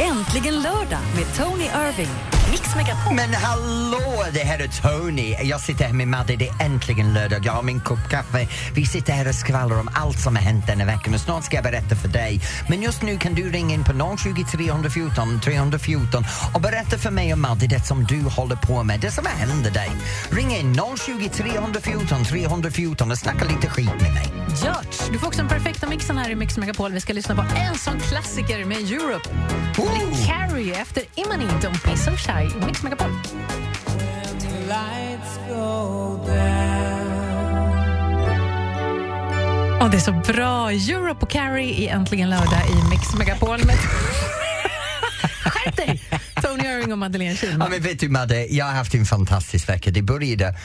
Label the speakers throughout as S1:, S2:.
S1: Äntligen lördag med Tony Irving. Mix Megapol.
S2: Men hallå, det här är Tony. Jag sitter här med Madde, det är äntligen lördag. Jag har min kopp kaffe. Vi sitter här och skvallrar om allt som har hänt denna veckan och snart ska jag berätta för dig. Men just nu kan du ringa in på 020 314 314 och berätta för mig och Madde det som du håller på med, det som händer dig. Ring in 020 314 314 och snacka lite skit med mig.
S3: Gert, du får också den perfekta mixen här i Mix Megapol. Vi ska lyssna på en sån klassiker med Europe.
S2: Woo!
S3: Carrie efter Imani, Don't Be So Shy i Mix Megapol. Och det är så bra! Europe och Carrie i Äntligen lördag i Mix Megapol. Med... Skärp dig! Tony Irving och Madeleine
S2: Ja,
S3: Kihlman.
S2: men vet du Madde, jag har haft en fantastisk vecka. Det började,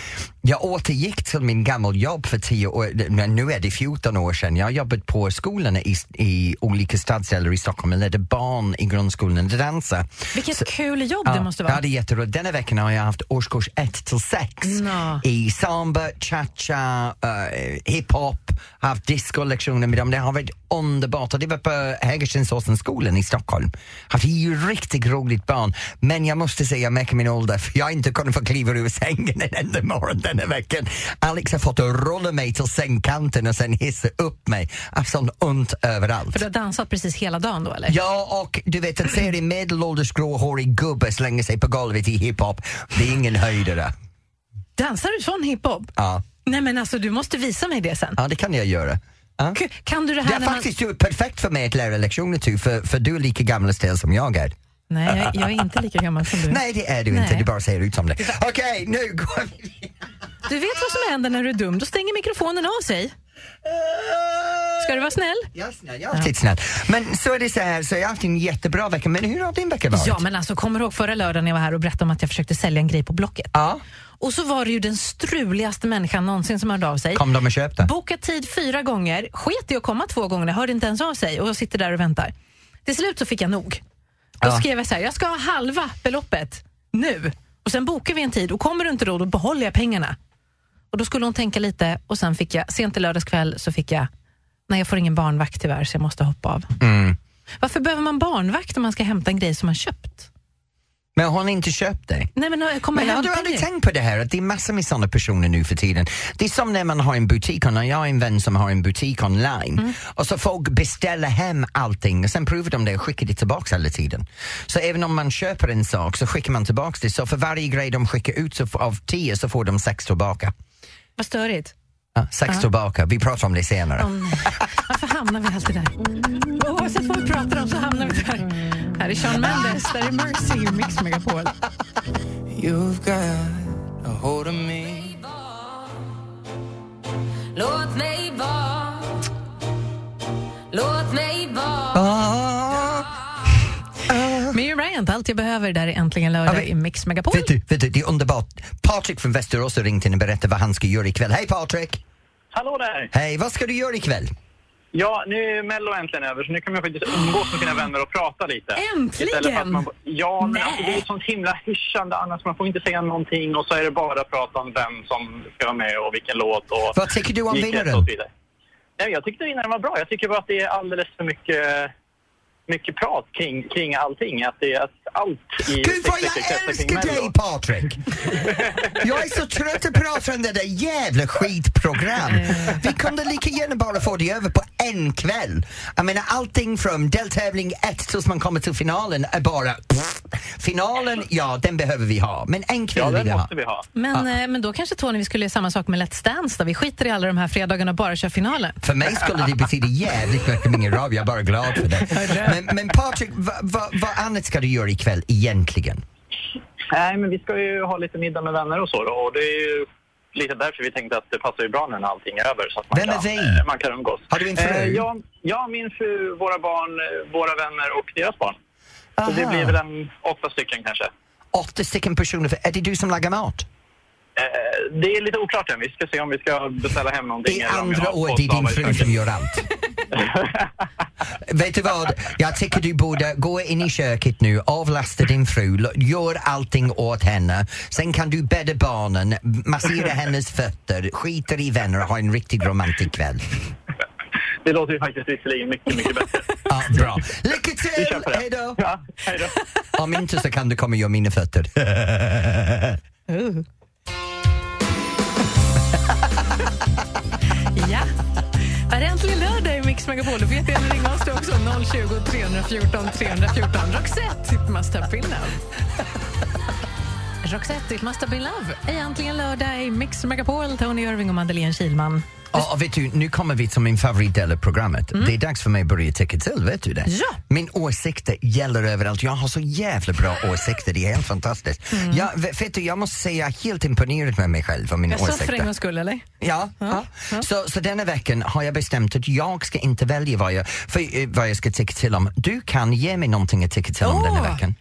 S2: jag återgick till min gammal jobb för 10 år, men nu är det 14 år sedan. Jag har jobbat på skolorna i, i olika stadsdelar i Stockholm och ledde barn i grundskolan att dansa.
S3: Vilket
S2: Så-
S3: kul jobb det måste
S2: Ja,
S3: vara.
S2: det är jätteroligt. Denna veckan har jag haft årskurs 1 till 6
S3: Nå.
S2: i samba, cha-cha, uh, hiphop, haft discolektioner med dem. Det har varit underbart och det var på Hägerstensåsenskolan i Stockholm. Haft ju riktigt roligt barn. Men jag måste säga, jag märker min ålder för jag har inte kunnat få kliva ur sängen en enda morgon denna veckan. Alex har fått rulla mig till sängkanten och sen hissa upp mig. Jag har sån ont överallt.
S3: För du har dansat precis hela dagen då, eller?
S2: Ja, och du vet att se en medelålders gråhårig gubbe slänga sig på golvet i hiphop, det är ingen höjdare.
S3: Dansar du sån hiphop?
S2: Ja,
S3: Nej men alltså, du måste visa mig det sen.
S2: ja det kan jag göra. Ja.
S3: K- Kan du det här
S2: Det är
S3: när man...
S2: faktiskt du är perfekt för mig att lära lektioner till, för, för du är lika gammal och stel som jag är.
S3: Nej, jag, jag är inte lika gammal som du.
S2: Nej, det är du
S3: Nej.
S2: inte, du bara ser ut som det. Okej, nu går vi
S3: Du vet vad som händer när du är dum. Då stänger mikrofonen av sig. Ska du vara snäll?
S2: Ja, snäll, jag är alltid snäll. Men så är det så här, så jag har haft en jättebra vecka, men hur har din vecka varit?
S3: Ja, men alltså kommer du ihåg förra lördagen när jag var här och berättade om att jag försökte sälja en grej på Blocket?
S2: Ja,
S3: Och så var det ju den struligaste människan någonsin som hörde av sig.
S2: kom de och köpte?
S3: Boka tid fyra gånger, sket i att komma två gånger, hörde inte ens av sig och jag sitter där och väntar. Till slut så fick jag nog. Då
S2: Ja.
S3: skrev jag så här, jag ska ha halva beloppet nu och sen bokar vi en tid och kommer du inte då, då behåller jag pengarna. Och då skulle hon tänka lite och sen fick jag, sent i lördags kväll så fick jag, nej jag får ingen barnvakt tyvärr så jag måste hoppa av.
S2: Mm.
S3: Varför behöver man barnvakt om man ska hämta en grej som man köpt?
S2: Men har ni inte köpt det?
S3: Nej men komma
S2: Men har
S3: hämta
S2: du aldrig
S3: det.
S2: tänkt på det här att det är massor med sådana personer nu för tiden? Det är som när man har en butik online, jag har en vän som har en butik online och så folk beställer hem allting och sen provar de det och skickar det tillbaka hela tiden. Så även om man köper en sak så skickar man tillbaka det så för varje grej de skickar ut så f- av tio så får de sex tillbaka.
S3: Vad störigt.
S2: Ja, sex tillbaka, vi pratar om det senare.
S3: Åh, nej. Varför hamnar vi alltid där? Oavsett vad vi pratar om så hamnar vi där. Här är Sean Mendes, där är Mercy i Mix Megapol.
S4: You've got a hold of me
S5: Låt mig vara Låt mig vara
S2: Ah,
S3: Miriam Bryant, allt jag behöver, där är äntligen lördag
S2: Ja, men-
S3: i Mix Megapol.
S2: vet, du, vet du, det är typ- underbart. Patrik från Västerås har ringt in och berättat vad han ska göra ikväll. Hej Patrik!
S6: Hallå där!
S2: Hej, vad ska du göra ikväll?
S6: Ja, nu är Mello äntligen över så nu kan man faktiskt umgås med sina vänner och prata lite.
S3: Äntligen!
S6: Istället för att man, ja, men
S3: Nej.
S6: alltså, det är ett sånt himla hyschande annars. Man får inte säga någonting och så är det bara prat om vem som ska vara med och vilken låt och...
S2: Vad tycker du om
S6: vilket
S2: vinnaren?
S6: och så vidare. Nej, jag tyckte vinnaren var bra. Jag tycker bara att det är alldeles för mycket, mycket prat kring, kring allting. Att det är att allt i...
S2: Gud vad jag
S6: 60 kretsar kring
S2: älskar dig
S6: Mello.
S2: Patrik! Jag är så trött att prata om det där jävla skitprogram. Vi kunde lika gärna bara få det över på en kväll. Jag menar allting från deltävling 1 tills man kommer till finalen är bara pff. Finalen, ja den behöver vi ha, men en kväll
S6: Ja,
S2: vill
S6: den
S2: jag ha.
S6: måste vi ha.
S3: Men, eh, men då kanske Tony, vi skulle göra samma sak med Let's Dance då. Vi skiter i alla de här fredagarna och bara kör finalen.
S2: För mig skulle det betyda jävligt mycket med ingen radio, jag är bara glad för det. Men, men Patrik, vad va, vad annat ska du göra ikväll egentligen?
S6: Nej, men vi ska ju ha lite middag med vänner och så då, och det är ju lite därför vi tänkte att det passar ju bra när allting är över så att man,
S2: Vem är
S6: kan,
S2: vi?
S6: eh, man kan umgås.
S2: Har du en fru?
S6: Eh, ja, ja, min fru, våra barn, eh, våra vänner och deras barn. Så det
S2: Aha.
S6: blir väl en åtta stycken kanske.
S2: Åtta stycken personer, för- är det du som lagar mat?
S6: Eh, det är lite oklart än. Vi ska se om vi ska beställa hem någonting.
S2: Det är
S6: eller om jag
S2: andra
S6: har
S2: året
S6: fått
S2: det är din
S6: lava i
S2: fru
S6: köket.
S2: som gör allt. Vet du vad? Jag tycker du borde gå in i köket nu, avlasta din fru, lo- gör allting åt henne. Sen kan du bädda barnen, massera hennes fötter, skiter i vänner och ha en riktig romantisk kväll.
S6: Det låter ju faktiskt visserligen mycket, mycket bättre.
S2: Ja, bra. Lycka
S6: Vi
S2: till!
S6: kör på det.
S2: Hej då!
S6: Ja, hej då.
S2: Om inte så kan du komma och göra mina fötter.
S3: Uh. ja. Är det äntligen lördag i Mix Megapol? Du får jättegärna ringa oss då också. 020 314 314. Roxette, it must have been love. Roxette, it must have been love. Är Äntligen lördag i Mix Megapol. Tony Irving och Madeleine Kilman.
S2: Ja, vet du, nu kommer vi till min favoritdel av programmet. Det är dags för mig att börja tycka till, vet du det?
S3: Mm. Ja.
S2: Min åsikter gäller överallt. Jag har så jävla bra åsikter, det är helt fantastiskt.
S3: Mm.
S2: Jag, vet du, jag måste säga jag är helt imponerad med mig själv och mina
S3: Jag sa
S2: åsikter.
S3: för en gångs skull, eller?
S2: Ja, ja. Så, så denna veckan har jag bestämt att jag ska inte välja vad jag, för, eh, vad jag ska tycka till om. Du kan ge mig någonting att tycka till om denna
S3: Åh.
S2: veckan.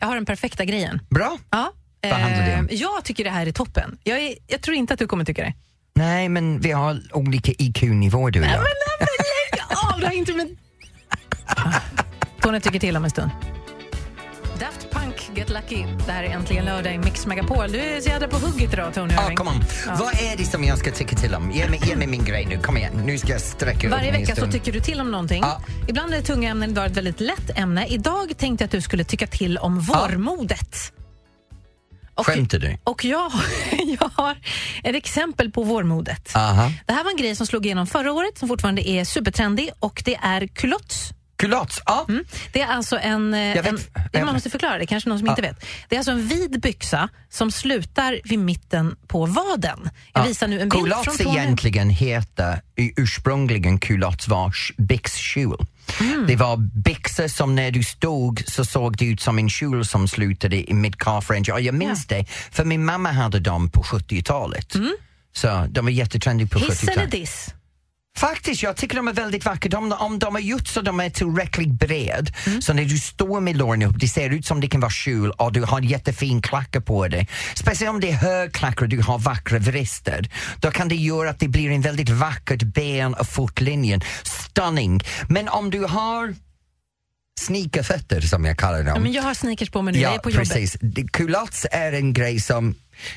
S3: Jag har den perfekta grejen.
S2: Bra?
S3: Ja.
S2: Vad handlar det om?
S3: Eh, Jag tycker det här är toppen. Jag, är, jag tror inte att du kommer tycka det.
S2: Nej, men vi har olika IQ-nivåer du och jag.
S3: Men lägg av! Det har inte med... Tony tycker till om en stund. Daft Punk, Get Lucky. Det här är äntligen lördag i Mix Megapol. Du är så jävla på hugget idag, Tony
S2: Ja,
S3: Irving.
S2: kom Ah, on. Vad är det som jag ska tycka till om? Ge mig, ge mig min grej nu, kom igen. Nu ska jag sträcka
S3: Varje
S2: ut mig en
S3: vecka så
S2: stund.
S3: tycker du till om någonting.
S2: Ja.
S3: Ibland är det tunga ämnen, idag är det ett väldigt lätt ämne. Idag tänkte jag att du skulle tycka till om vårmodet. Och,
S2: Skämtar du?
S3: och jag, jag har ett exempel på vårmodet.
S2: Aha.
S3: Det här var en grej som slog igenom förra året som fortfarande är supertrendig och det är culottes.
S2: Kulott! Ja.
S3: Det är alltså en... eh,
S2: vet-
S3: en
S2: jag-
S3: man måste förklara det, kanske någon som inte vet. Det är alltså en vid byxa som slutar vid mitten på vaden. Jag visar nu en bild
S2: Culottes
S3: från Tony.
S2: egentligen heter i- ursprungligen culottes var sh- byxkjol.
S3: Mm.
S2: Det var byxor som när du stod så såg det ut som en kjol som slutade i midcalf-range. Och jag minns det, för min mamma hade dem på 70-talet.
S3: Mm.
S2: Så de var jättetrendiga på
S3: Hiss eller
S2: 70-talet.
S3: diss?
S2: Faktiskt, jag tycker de är väldigt vackra. Om, om de har gjort så de är tillräckligt bred,
S3: Mm.
S2: så när du står med låren upp, det ser ut som det kan vara kjol och du har jättefin klackar på dig. Speciellt om det är högklackar och du har vackra vrister. Då kan det göra att det blir en väldigt vackert ben och fotlinjen. Stunning! Men om du har sneakerfötter som jag kallar dem.
S3: Ja, men jag har sneakers på mig nu, jag är på jobbet.
S2: precis. Det- Culottes är en grej som,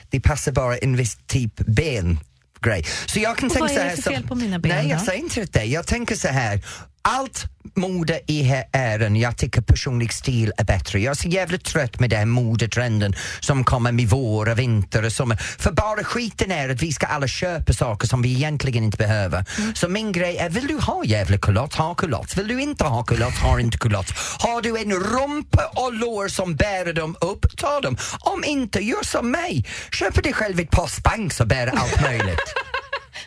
S2: det passar bara en viss typ ben. Grej. Så jag kan
S3: Och
S2: tänka
S3: vad är
S2: så
S3: det
S2: här
S3: för
S2: som-
S3: fel på mina ben
S2: Nej, jag
S3: då?
S2: säger inte det. Jag tänker så här. Allt mode i här är en, jag tycker personlig stil är bättre. Jag är så jävligt trött med den här modetrenden som kommer med vår och vinter och sommar. För bara skiten är att vi ska alla köpa saker som vi egentligen inte behöver.
S3: Mm.
S2: Så min grej är, vill du ha jävla kulott, ha kulott. Vill du inte ha kulott, ha inte kulott. Har du en rumpa och lår som bär dem upp, ta dem. Om inte, gör som mig. Köper dig själv ett par spanks och bär allt möjligt.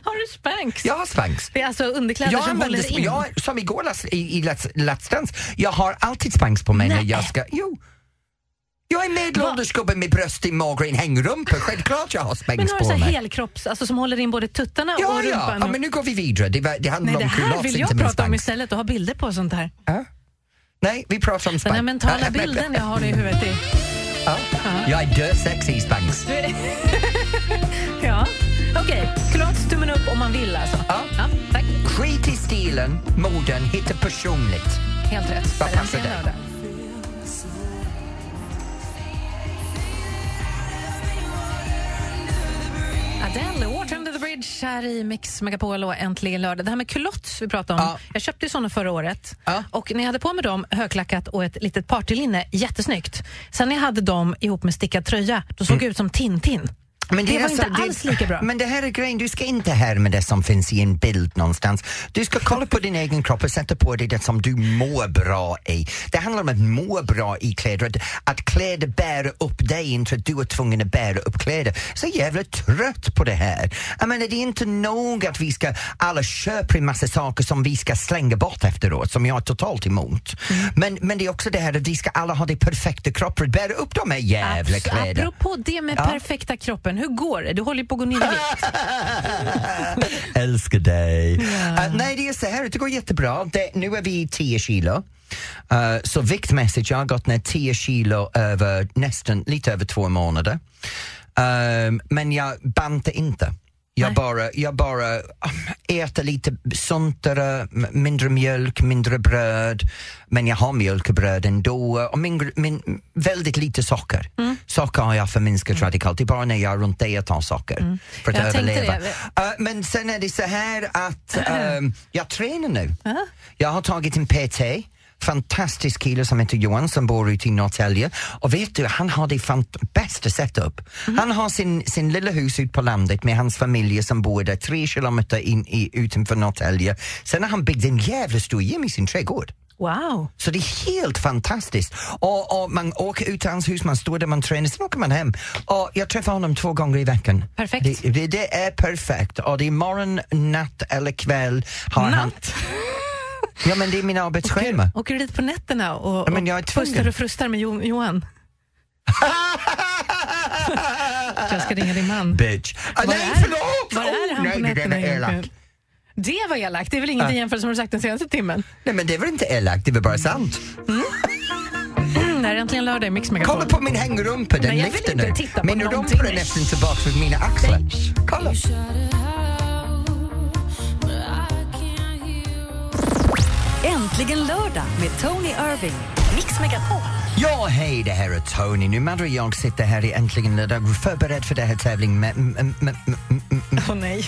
S3: Har du spanks?
S2: Jag har spanks.
S3: Det är alltså underkläder
S2: Jag
S3: som
S2: använder,
S3: håller in.
S2: jag, som igår last, i, i Let's, Let's Dance, jag har alltid spanks på mig när
S3: Nej.
S2: jag ska... Jo. Jag är medelålders gubbe med bröst i magen i en hängrumpa. Självklart jag har
S3: Men
S2: spanks
S3: har du så
S2: på
S3: här
S2: mig.
S3: helkropps, alltså som håller in både tuttarna
S2: Ja,
S3: och
S2: ja.
S3: rumpan?
S2: ja,
S3: och-
S2: men nu går vi vidare. Det, var, det handlar
S3: Nej, det
S2: om
S3: här
S2: culottes,
S3: vill
S2: inte
S3: jag
S2: min
S3: prata om
S2: spanks.
S3: istället och ha bilder på och sånt här.
S2: Nej, vi pratar om spanks.
S3: Den här
S2: Ja,
S3: mentala
S2: ja, men-
S3: bilden jag har i huvudet. Är...
S2: Ja. Jag är dösexig i spanks.
S3: Du är- ja. Okej, klart tummen upp om man vill alltså.
S2: Ja.
S3: tack.
S2: Skit i stilen, moden, hitta personligt.
S3: Helt rätt.
S2: Vad
S3: Där
S2: passar
S3: ser jag
S2: dig?
S3: det. Adele, Water Under the Bridge här i Mix Megapol och äntligen lördag. Det här med culottes vi pratade om.
S2: Ja.
S3: Jag köpte ju såna förra året
S2: Ja.
S3: och när jag hade på mig dem, högklackat och ett litet partylinne, jättesnyggt. Sen när jag hade dem ihop med stickad tröja, då
S2: Mm.
S3: såg jag ut som Tintin. det,
S2: är
S3: var
S2: alltså-
S3: inte alls lika bra.
S2: Men det här är grejen, du ska inte härma det som finns i en bild någonstans. Du ska kolla på din egen kropp och sätta på dig det som du mår bra i. Det handlar om att må bra i kläder, att, att kläder bär upp dig, inte att du är tvungen att bära upp kläder. Så jävligt trött på det här. Jag menar, det är inte nog att vi ska, alla köper en massa saker som vi ska slänga bort efteråt, som jag är totalt emot.
S3: Mm.
S2: Men, men det är också det här att vi ska alla ha det perfekta kroppen, bära upp de här jävla
S3: Abs-
S2: kläderna.
S3: Apropå det med perfekta kroppen, hur går det? Du håller ju på att gå ner i vikt.
S2: Älskar dig. Eh, nej, det är så här, det går jättebra. Det, nu är vi 10 kilo. Eh, så viktmässigt, jag har gått ner 10 kilo över nästan lite över två månader. Ehm, men jag bantar inte. Jag bara, jag bara ah, äter lite suntare, m- mindre mjölk, mindre bröd. Men jag har mjölk och bröd ändå. Och min, min, väldigt lite socker. Socker har jag förminskat radikalt. Det är bara när jag är runt det jag tar socker. För att
S3: Jag tänkte
S2: överleva.
S3: det.
S2: Eh, men sen är det så här att ehm, jag tränar nu. Jag har tagit en PT fantastisk kille som heter Johan som bor ute i Norrtälje. Och vet du, han har det fant- bästa setup.
S3: Mhm.
S2: Han har sin, sin lilla hus ute på landet med hans familj som bor där tre kilometer in, i, utanför Norrtälje. Sen har han byggt en jävla stor gym i sin trädgård.
S3: Wow.
S2: Så det är helt fantastiskt. Och, och man åker ut till hans hus, man står där, man tränar, sen åker man hem. Och jag träffar honom två gånger i veckan.
S3: Perfekt.
S2: Det, det, det är perfekt. Och det är morgon, natt eller kväll. Har Han...
S3: Natt.
S2: Ja, men det är min arbetsschema.
S3: Åker du dit på nätterna och,
S2: Ja, men jag är
S3: och pustar
S2: tvungen.
S3: och frustar med Jo- Johan? Jag ska ringa din man.
S2: Bitch. Ah,
S3: Var
S2: nej,
S3: är-
S2: förlåt!
S3: Var är
S2: Oh,
S3: han på
S2: nej, det där
S3: nätterna
S2: var elak. Ah.
S3: egentligen? Det var elakt. Det är väl inget i jämförelse med vad du sagt den senaste timmen?
S2: Nej, men det var inte elakt, det var bara sant.
S3: Mm, det här är äntligen lördag i Mix Megapol.
S2: Kolla på min hängrumpa, den
S3: Nej, jag vill
S2: lyfter
S3: inte
S2: nu.
S3: titta på
S2: Min
S3: någonting.
S2: rumpa är nästan tillbaka vid mina axlar. Kolla.
S1: Äntligen lördag med Tony Irving. Mix Megapol.
S2: Ja, hej, det här är Tony. Nu Madde och jag sitter här i Äntligen lördag förberedd för det här tävlingen med... m- m- m- m- m- m-
S3: Åh nej.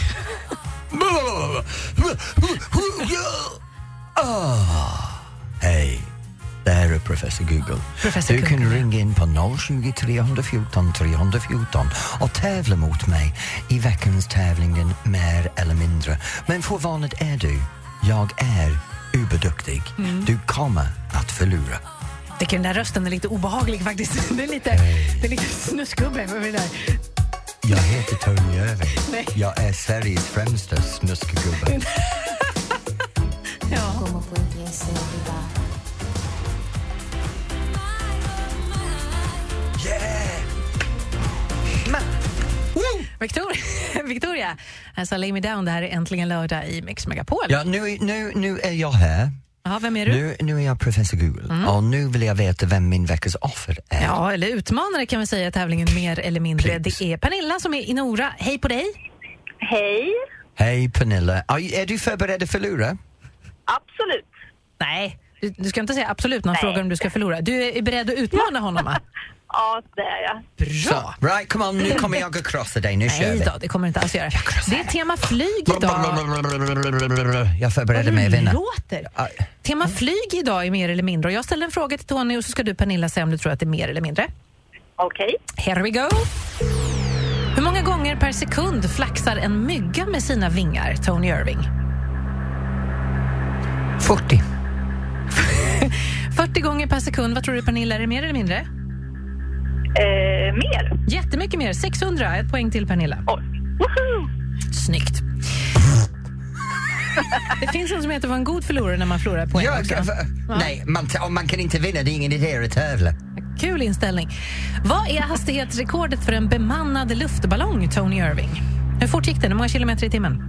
S2: Ah, Hej, det här är professor Google.
S3: Professor
S2: du kan ringa in på 020 314 314 och tävla mot mig i veckans tävlingen mer eller mindre. Men för vanligt är du, jag är uberduktig.
S3: Mm.
S2: Du kommer att förlora.
S3: Det kan, den där rösten är lite obehaglig faktiskt. Det är lite, det är lite snusgubbe över det där.
S2: Jag heter Tony Irving.
S3: Nej.
S2: Jag är Sveriges främsta snuskgubbe.
S3: Ja.
S7: Como puente inseguridad.
S3: Victoria, Victoria alltså Lay Me Down, det här är äntligen lördag i Mix Megapol.
S2: Ja, nu, nu, nu är jag här.
S3: Ja, vem är du? Mm.
S2: Nu, nu är jag professor Google och nu vill jag veta vem min veckas offer är.
S3: Ja, eller utmanare kan vi säga i tävlingen mer eller mindre.
S2: Please.
S3: Det är Pernilla som är i Nora. Hej på dig!
S8: Hej.
S2: Hej Pernilla, är, är du förberedd att förlora?
S8: Absolut.
S3: Nej, du, du ska inte säga absolut när han frågar om du ska förlora. Du är beredd att utmana honom, va?
S8: Ja, det är jag.
S3: Bra!
S2: Så, right, come on, nu kommer jag att krossa dig, nu kör
S3: Nej
S2: vi.
S3: då, det kommer du inte alls göra. Det är tema flyg idag. Mm,
S2: Jag förbereder mig att vinna.
S3: låter.
S2: Ja,
S3: Tema flyg idag är mer eller mindre. Och jag ställer en fråga till Tony och så ska du Pernilla säga om du tror att det är mer eller mindre.
S8: Okej.
S3: Here we go! Hur många gånger per sekund flaxar en mygga med sina vingar, Tony Irving?
S2: 40.
S3: 40 gånger per sekund, vad tror du Pernilla, är det mer eller mindre?
S8: Eh, mer.
S3: Jättemycket mer, 600. Ett poäng till Pernilla.
S8: Oj. Woho!
S3: Snyggt. Det finns något som heter att vara en god förlorare när man förlorar poäng
S2: Jag,
S3: också.
S2: va- nej, man, om man kan inte vinna, det är ingen idé att tävla.
S3: Kul inställning. Vad är hastighetsrekordet för en bemannad luftballong, Tony Irving? Hur fort gick den? Hur många kilometer i timmen?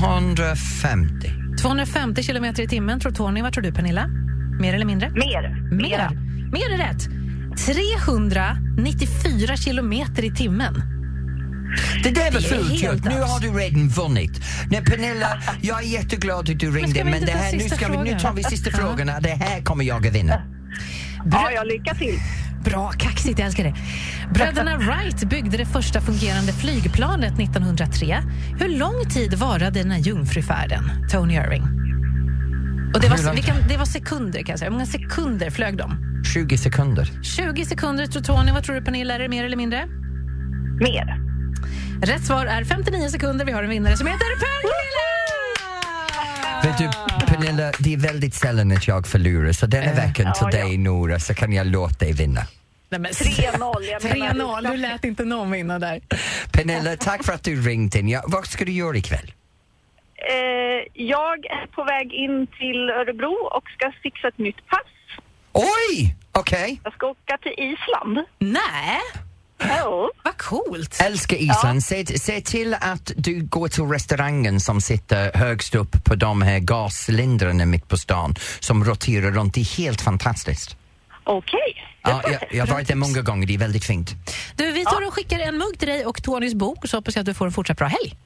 S2: 250.
S3: 250 kilometer i timmen tror Tony. Vad tror du, Pernilla? Mer eller mindre?
S8: Mer.
S3: Mer. Mer är rätt. 394 kilometer i timmen.
S2: Det där var
S3: Det är
S2: fult
S3: helt
S2: gjort. Nu
S3: abs-
S2: har du redan vunnit. Nej, Pernilla, jag är jätteglad att du ringde.
S3: vi
S2: Men,
S3: inte
S2: det
S3: ta
S2: här, nu,
S3: sista
S2: ska vi, nu tar vi
S3: frågan?
S2: sista
S3: Ja.
S2: frågorna. Det här kommer jag att vinna.
S8: Ja, jag lycka till.
S3: Bra, kaxigt. Jag älskar det. Bröderna Wright byggde det första fungerande flygplanet 1903. Hur lång tid varade den här jungfrufärden, Tony Irving? Och det,
S2: Hur
S3: var,
S2: lång-
S3: vi kan, det var sekunder, kan jag säga. Hur många sekunder flög de?
S2: 20 sekunder.
S3: 20 sekunder tror Tony. Vad tror du, Pernilla? Är det mer eller mindre?
S8: Mer.
S3: Rätt svar är 59 sekunder. Vi har en vinnare som heter Pernilla!
S2: Vet du, Pernilla, det är väldigt sällan att jag förlorar. Så
S3: Eh.
S2: denna veckan till
S8: ja, ja.
S2: dig, Nora, så kan jag låta dig vinna.
S3: Nej, men,
S8: 3-0, jag menar,
S3: 3-0. Du lät inte någon vinna där.
S2: Pernilla, tack för att du ringt in. Ja, vad ska du göra ikväll?
S8: Eh, jag är på väg in till Örebro och ska fixa ett nytt pass.
S2: Oj! Okej.
S8: Jag ska åka till Island.
S3: Nej,
S8: Jo.
S3: vad coolt.
S2: Älskar Island. Se, se till att du går till restaurangen som sitter högst upp på de här gascylindrarna mitt på stan som roterar runt. Det är helt fantastiskt.
S8: Okej.
S2: Ja, jag, jag har varit där många gånger, det är väldigt fint.
S3: Du, vi tar och skickar en mugg till dig och Tonys bok så hoppas jag att du får en fortsatt bra helg.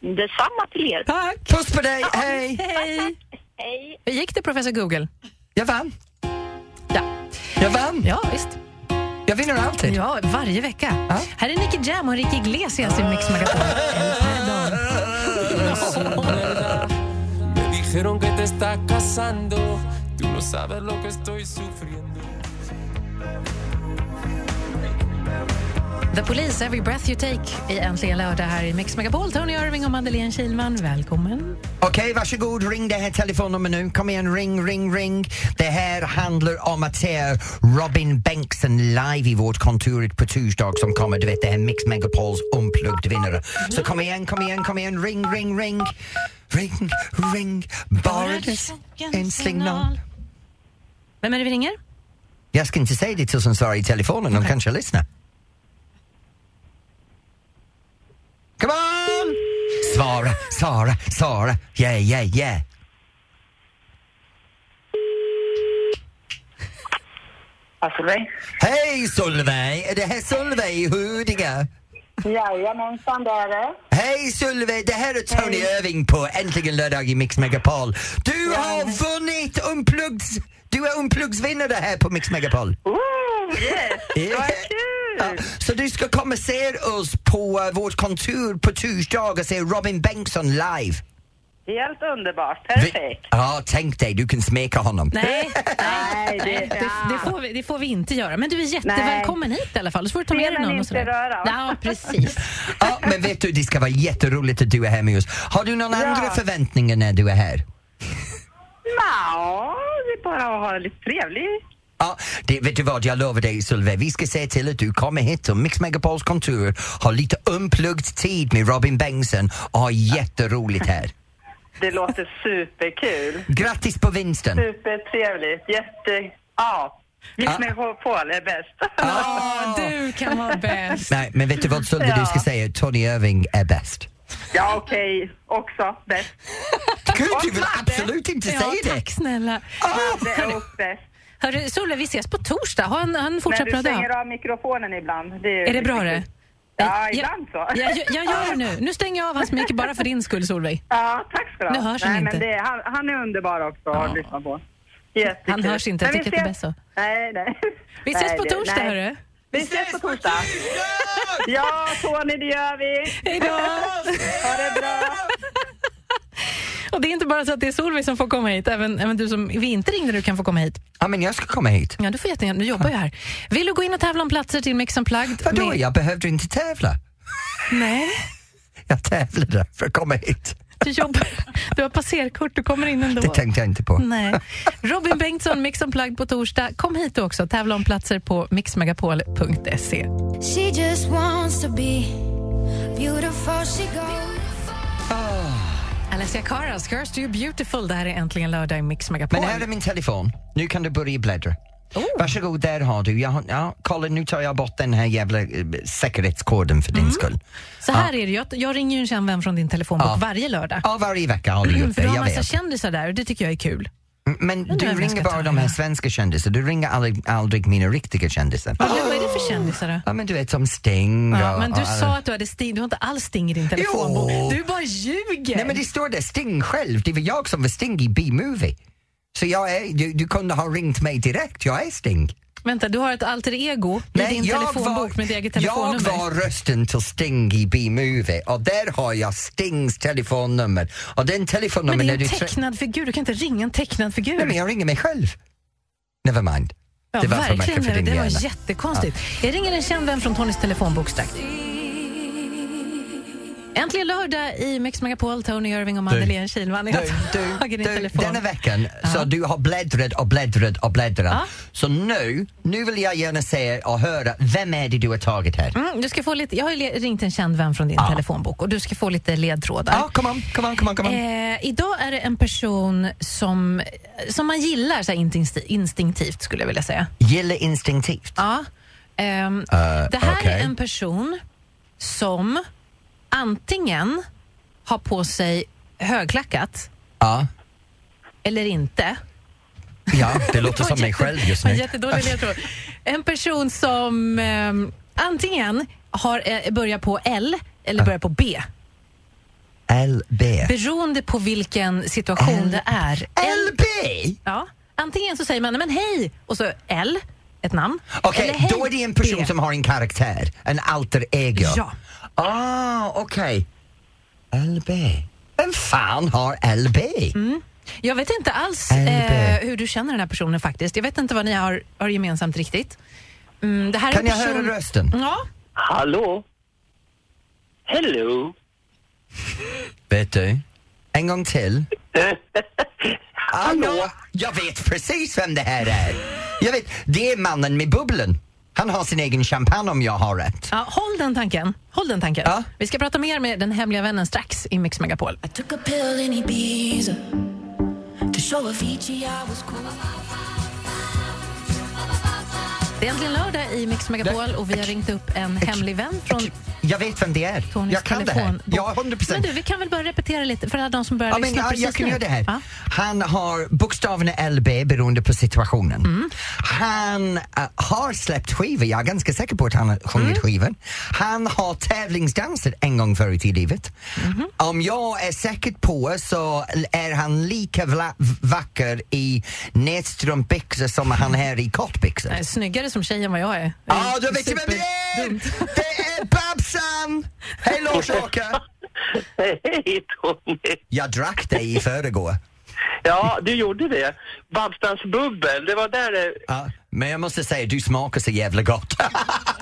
S8: Detsamma till er.
S2: Tack! Puss på dig, hej!
S3: Hej!
S8: Hej.
S3: Hur gick det professor Google?
S2: Jag vann,
S3: Ja,
S2: jag vann,
S3: ja visst.
S2: jag vinner alltid.
S3: Ja, varje vecka. Här är Nicky Jam och Ricky
S8: Ah.
S3: Iglesias i Mix Megapol. El Pardon.
S4: dijeron que te estás casando. Tú no sabes lo que estoy sufriendo.
S3: The Police, Every Breath You Take i Äntligen lördag här i Mix Megapol. Tony Irving och Madeleine Kilman, välkommen.
S2: Okej, varsågod. Ring det här telefonnumret nu. Kom igen, ring, ring, ring. Det här handlar om att se Robin Bengtsson live i vårt kontoret på torsdag som kommer. Du vet, det här Mix Megapols Unplugged-vinnare. Så kom igen, kom igen, kom igen. Ring, ring, ring. Ring, ring. Bara en signal.
S3: Vem är det vi ringer?
S2: Jag ska inte säga det till som svarar i telefonen. De kanske lyssnar. Come on! Svara, svara, svara. Yeah, yeah, yeah.
S7: Alltså nej.
S2: Hej Solveig! Är det här Solveig i Huddinge?
S7: Jajamensan, det är det.
S2: Hej Solveig! Det här är Tony Irving på Äntligen lördag i Mix Megapol. Du har vunnit Unplugs... Du är Unplugs-vinnare här på Mix Megapol.
S7: Woo, yes. Vad
S2: Ja,
S7: kul!
S2: Så du ska komma och se oss på eh, vårt kontor på torsdag och se Robin Bengtsson live.
S7: Helt underbart.
S2: Vi-
S7: Perfekt.
S2: Ja, tänk dig, du kan smeka honom.
S3: Nej,
S7: Nej,
S3: nej det, det, får vi, det får vi inte göra. Men du är jättevälkommen hit i alla fall. Så får du ta med dig
S7: Scenen
S3: någon.
S7: inte
S3: Och sådär.
S7: röra.
S3: Ja, precis.
S2: Ja, men vet du, det ska vara jätteroligt att du är här med oss. Har du någon andra förväntningar när du är här?
S7: Nja, det är bara att ha det lite trevligt.
S2: Ja, det, vet du vad, jag lovar dig Solveig, vi ska se till att du kommer hit till Mix Megapols kontor, har lite unplugged tid med Robin Bengtsson och har jätteroligt här.
S7: Det låter superkul.
S2: Grattis på vinsten!
S7: Supertrevligt. Jätte... Ja. Mitt megapol är bäst.
S3: Åh, du kan vara bäst.
S2: Nej, men vet du vad Solveig, du ska
S7: Ja.
S2: säga Tony Irving är bäst.
S7: Ja, okej. Också bäst.
S2: Gud, du vill absolut inte
S3: Ja,
S2: säga det!
S3: tack snälla.
S7: Det är också bäst.
S3: Hörru, Solle, vi ses på torsdag. Ha en, ha en
S7: Men
S3: fortsatt
S7: du
S3: bra dag.
S7: stänger av mikrofonen ibland. Det
S3: Är det bra det?
S7: Ja,
S3: Eh,
S7: ibland så.
S3: Jag, jag, jag gör det nu. Nu stänger jag av hans mick bara för din skull, Solveig.
S7: Ja, tack ska du ha.
S3: Nu hörs
S7: Nej,
S3: han
S7: men
S3: inte.
S7: Det, är- han, han är underbar också att lyssna på. Jättekul.
S3: Han hörs inte, jag
S7: Men vi
S3: tycker att det är bäst
S7: ses-
S3: så.
S7: Nej, nej.
S3: Vi ses
S7: Nej,
S3: på
S7: det-
S3: torsdag,
S7: nej.
S3: hörru.
S7: Vi ses på torsdag. Ja, Tony, det gör vi.
S3: Hej då!
S7: Ha det bra.
S3: Och det är inte bara så att det är Solveig som får komma hit, även, även du som vi inte ringde du kan få komma hit.
S2: Ja, men jag ska komma hit.
S3: Ja, du får jättegärna, nu jobbar jag här. Vill du gå in och tävla om platser till Mix Unplugged?
S2: Vadå,
S3: med-
S2: jag behövde inte tävla.
S3: Nej,
S2: Jag tävlade för att komma hit.
S3: du jobbar. Du har passerkort, du kommer in ändå.
S2: Det tänkte jag inte på.
S3: Nej. Robin Bengtsson, Mix Unplugged på torsdag. Kom hit du också, tävla om platser på mixmegapol.se.
S5: She just wants to be beautiful. She goes.
S3: Alessia Cara, Cursed You're Beautiful. Det här är äntligen lördag i Mix Megapol.
S2: Men här är min telefon. Nu kan du börja bläddra.
S3: Oh.
S2: Varsågod, där har du. Jag, har- ja, kolla, nu tar jag bort den här jävla eh, säkerhetskoden för din
S3: Mm.
S2: skull.
S3: Så här är det, jag, jag ringer ju en känd vän från din telefonbok varje lördag.
S2: Ja, varje vecka har du gjort
S3: För
S2: det,
S3: du har
S2: jag
S3: Mm, massa
S2: vet.
S3: kändisar där och det tycker jag är kul.
S2: Mm, Men
S3: undrar
S2: du
S3: vem jag ska
S2: ringer bara
S3: ta
S2: de här
S3: med.
S2: svenska kändisar, du ringer aldrig, aldrig mina riktiga kändisar.
S3: Vad vad är det för kändisar då?
S2: Ja, men du vet som Sting och,
S3: Ja, men du
S2: och alla-
S3: sa att du hade Sting, du har inte alls Sting i din telefonbok.
S2: Jo.
S3: Du bara ljuger!
S2: Nej men det står där, Sting själv, det var jag som var Sting i B-movie. Så jag är, du, du kunde ha ringt mig direkt, jag är Sting.
S3: Vänta, du har ett alter ego i din telefonbok med ditt eget
S2: jag
S3: telefonnummer.
S2: var rösten till Sting i B-movie och där har jag Stings telefonnummer. Och den
S3: men
S2: telefonnummer
S3: det är
S2: när
S3: ju
S2: du
S3: en
S2: trä-
S3: tecknad figur, du kan inte ringa en tecknad figur.
S2: Nej men jag ringer mig själv. Never mind.
S3: ja,
S2: det var för mycket
S3: verkligen,
S2: för din
S3: det
S2: hjärna.
S3: var jättekonstigt. Jag ringer en känd vän från Tonys telefonbok strax. Äntligen lördag i Mix Megapol, Tony Irving och Madeleine Kihlman. Jag
S2: Du,
S3: har tagit
S2: du,
S3: din
S2: du,
S3: telefon.
S2: denna veckan så du har bläddrat och bläddrat och bläddrat.
S3: Ja.
S2: Så nu, nu vill jag gärna se och höra, vem är det du har tagit här?
S3: Mm, du ska få lite, jag har ju le- ringt en känd vän från din telefonbok och du ska få lite ledtrådar.
S2: Ja, kom on, kom on, kom on, kom on.
S3: Eh, idag är det en person som, som man gillar så här instinkti- instinktivt, skulle jag vilja säga.
S2: Gilla instinktivt.
S3: Ja. Ehm, det här
S2: Eh, okej.
S3: är en person som antingen har på sig högklackat
S2: Ja.
S3: eller inte.
S2: Ja, det låter som mig själv just
S3: En
S2: nu.
S3: jättedålig ledtråd. En person som ehm, antingen har, eh, börjar på L eller börjar på B.
S2: LB.
S3: Beroende på vilken situation
S2: L-
S3: det är.
S2: LB?
S3: Ja. Antingen så säger man men hej och så L, ett namn.
S2: Okej,
S3: Eller hej,
S2: då är det en person
S3: B.
S2: som har en karaktär, en alter ego.
S3: Ja. Mm.
S2: Ah, okej. LB. Vem fan har LB?
S3: Jag vet inte alls
S2: Elbe.
S3: eh, hur du känner den här personen faktiskt. Jag vet inte vad ni har, har gemensamt riktigt. Mm, det här
S2: Kan
S3: är
S2: jag
S3: en person...
S2: höra rösten?
S3: Ja.
S6: Hallå? Hello?
S2: Vet du? En gång till. Hallå? Jag vet precis vem det här är. Jag vet, det är mannen med bubblan. Han har sin egen champagne om jag har rätt.
S3: ja, håll den tanken. Håll den tanken.
S2: Ja.
S3: Vi ska prata mer med den hemliga vännen strax i Mix Megapol.
S9: Took a pill in Ibiza to show Avicii I was cool.
S3: Det är äntligen lördag i Mix Megapol och vi har ringt upp en hemlig vän från
S2: Jag vet vem det är.
S3: Tonys
S2: Jag kan det här.
S3: telefonbok.
S2: Ja, 100
S3: Men
S2: procent.
S3: du, vi kan väl bara repetera lite för alla de som börjar
S2: Ja, men,
S3: lyssna
S2: ja,
S3: precis
S2: jag kan
S3: nu.
S2: göra det här.
S3: Ja.
S2: Han har bokstäverna LB beroende på situationen.
S3: Mm.
S2: Han eh, har släppt skivor, jag är ganska säker på att han har
S3: Mm.
S2: sjungit skivor. Han har tävlingsdansat en gång förut i livet.
S3: Mhm.
S2: Om jag är säker på så är han lika vla- vacker i nätstrumpbyxor som han är i kortbyxor.
S3: Nej, Snyggare som tjej än vad jag är.
S2: Ja, du vet ju vem det är!
S3: Superdumt.
S2: Det är Babsan! Hej Lars-Åke!
S6: Hej Tony!
S2: Jag drack dig i förrgår.
S6: Ja, du gjorde det. Babstans bubbel, det var där det...
S2: Ja, men jag måste säga, du smakar så jävla gott.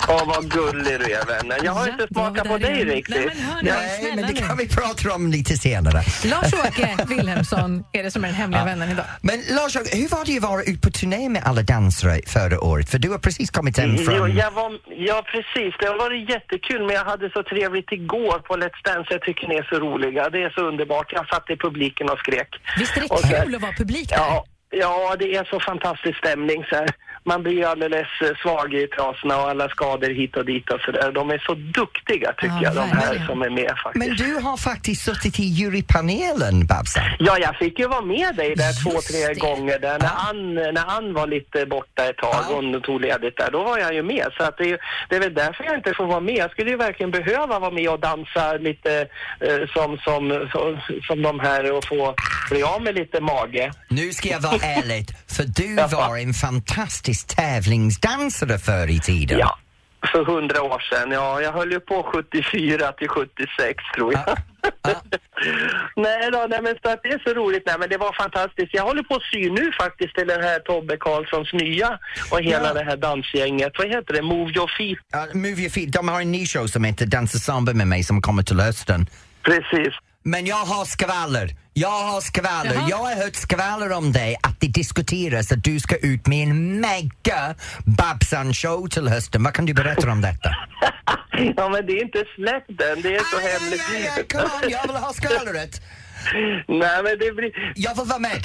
S6: Åh, vad gullig du är vännen. Jag har
S3: Ja,
S6: inte
S3: då var
S6: smakat
S3: vi
S6: på
S3: där
S6: dig
S3: igen. Nej,
S6: riktigt.
S3: men hörni,
S2: Nej,
S3: snälla
S2: men det
S3: nu.
S2: kan vi prata om lite senare.
S3: Lars-Åke Wilhelmsson är det som är den hemliga vännen idag.
S2: Men Lars, hur var det att vara ute på turné med alla dansare förra året? För du har precis kommit hem
S6: Jo,
S2: från...
S6: jag Mm, var, ja, precis. Det har varit jättekul, men jag hade så trevligt igår på Let's Dance. Jag tycker ni är så roliga. Det är så underbart. Jag satt i publiken och skrek.
S3: Visst är det
S6: Och så-
S3: kul att vara publik där?
S6: Ja, ja, det är så fantastisk stämning. Så här. Man blir ju alldeles eh, svag i trasorna och alla skador hit och dit och så där. De är så duktiga, tycker
S3: Ja,
S6: jag, de
S3: verkligen.
S6: här som är med faktiskt.
S2: Men du har faktiskt suttit i jurypanelen, Babsan.
S6: Ja, jag fick ju vara med dig där två, tre
S3: det.
S6: gånger där när Ann, när Ann var lite borta ett tag
S2: Ja.
S6: och tog ledigt där. Då var jag ju med. Så att det, är ju- det är väl därför jag inte får vara med. Jag skulle ju verkligen behöva vara med och dansa lite eh, som, som, som, som de här och få bli av med lite mage.
S2: Nu ska jag vara ärlig, för du var en fantastisk tävlingsdansare förr i tiden.
S6: Ja. För hundra år sedan, ja. Jag höll ju på 74 till 76 tror jag.
S2: Ah.
S6: nej då, nej men så att det är så roligt. Nej men det var fantastiskt. Jag håller på att sy nu faktiskt till den här Tobbe Karlssons nya och hela
S2: Ja.
S6: det här dansgänget. Vad heter det? Move your feet.
S2: Ja, Move your feet. De har en ny show som heter Dansa samba med mig som kommer till hösten.
S6: Precis.
S2: Men jag har skvaller. Jag har skvaller.
S3: Jaha.
S2: Jag har hört skvaller om dig att det diskuteras att du ska ut med en mega Babsan-show till hösten. Vad kan du berätta om detta?
S6: ja men det är inte släppt än. Det är så
S2: Aj,
S6: hemligt.
S2: aj, aj, Kom on, jag vill ha skvallret.
S6: nej men det blir...
S2: Jag vill vara med.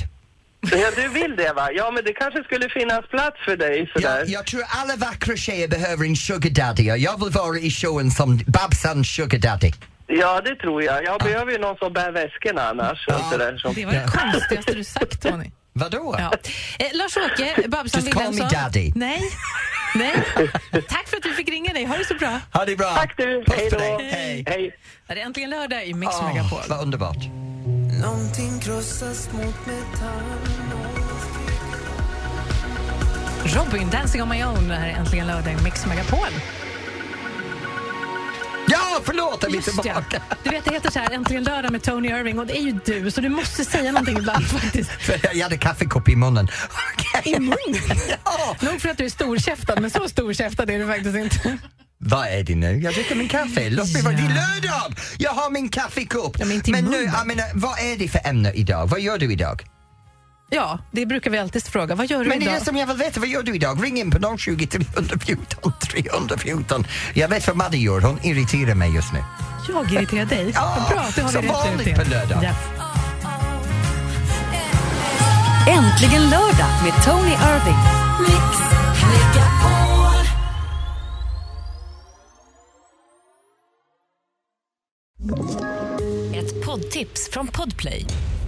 S6: Ja, du vill det va? Ja men det kanske skulle finnas plats för dig sådär.
S2: Jag, jag tror alla vackra tjejer behöver en sugar daddy och jag vill vara i showen som Babsans sugar daddy.
S6: Ja, det tror jag. Jag behöver ju någon som bär väskorna annars. Och sådär, som...
S3: Det var det konstigaste du sagt, Tony.
S2: Vadå?
S3: Ja. Eh, Lars-Åke Babsan
S2: Just call me
S3: Wilhelmsson.
S2: daddy.
S3: Nej. Nej. Tack för att vi fick ringa dig. Ha det så bra.
S2: Ha det bra.
S6: Tack du,
S2: Puss
S6: hej
S2: på
S6: då.
S2: dig. Hej.
S6: Hej.
S3: Det är äntligen lördag i Mix
S2: Åh,
S3: Megapol.
S2: vad underbart.
S4: Någonting krossas mot metall
S3: Robin, Dancing on my own. Det här är äntligen lördag i Mix Megapol.
S2: Ja, förlåt, jag är
S3: Just ja.
S2: tillbaka.
S3: Du vet, det heter så här Äntligen lördag med Tony Irving och det är ju du, så du måste säga någonting ibland faktiskt.
S2: För jag hade kaffekopp i munnen. Okej.
S3: I munnen.
S2: Ja.
S3: Nog för att du är storkäftad, men så storkäftad är du faktiskt inte.
S2: Vad är det nu? Jag dricker min kaffe. Låt mig vara. Det är lördag! Jag har min kaffekopp.
S3: Ja, men inte i
S2: nu,
S3: munnen.
S2: jag menar, vad är det för ämne idag? Vad gör du idag?
S3: Ja, det brukar vi alltid fråga. Vad gör du
S2: Men det är
S3: idag?
S2: det som jag vill veta. Vad gör du idag? Ring in på 020 314 314. Jag vet vad Madde gör. Hon irriterar mig just nu.
S3: Jag irriterar dig.
S2: Ja,
S3: Vad bra att du har
S2: som
S3: det rätt
S2: vanligt
S3: ut
S2: på lördag.
S3: Ja.
S1: Äntligen lördag med Tony Irving.
S9: Ett poddtips från Podplay.